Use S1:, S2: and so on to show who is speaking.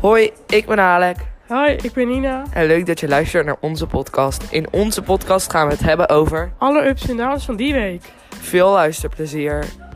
S1: Hoi, ik ben Alek.
S2: Hi, ik ben Nina.
S1: En leuk dat je luistert naar onze podcast. In onze podcast gaan we het hebben over
S2: Alle ups en downs van die week.
S1: veel luisterplezier.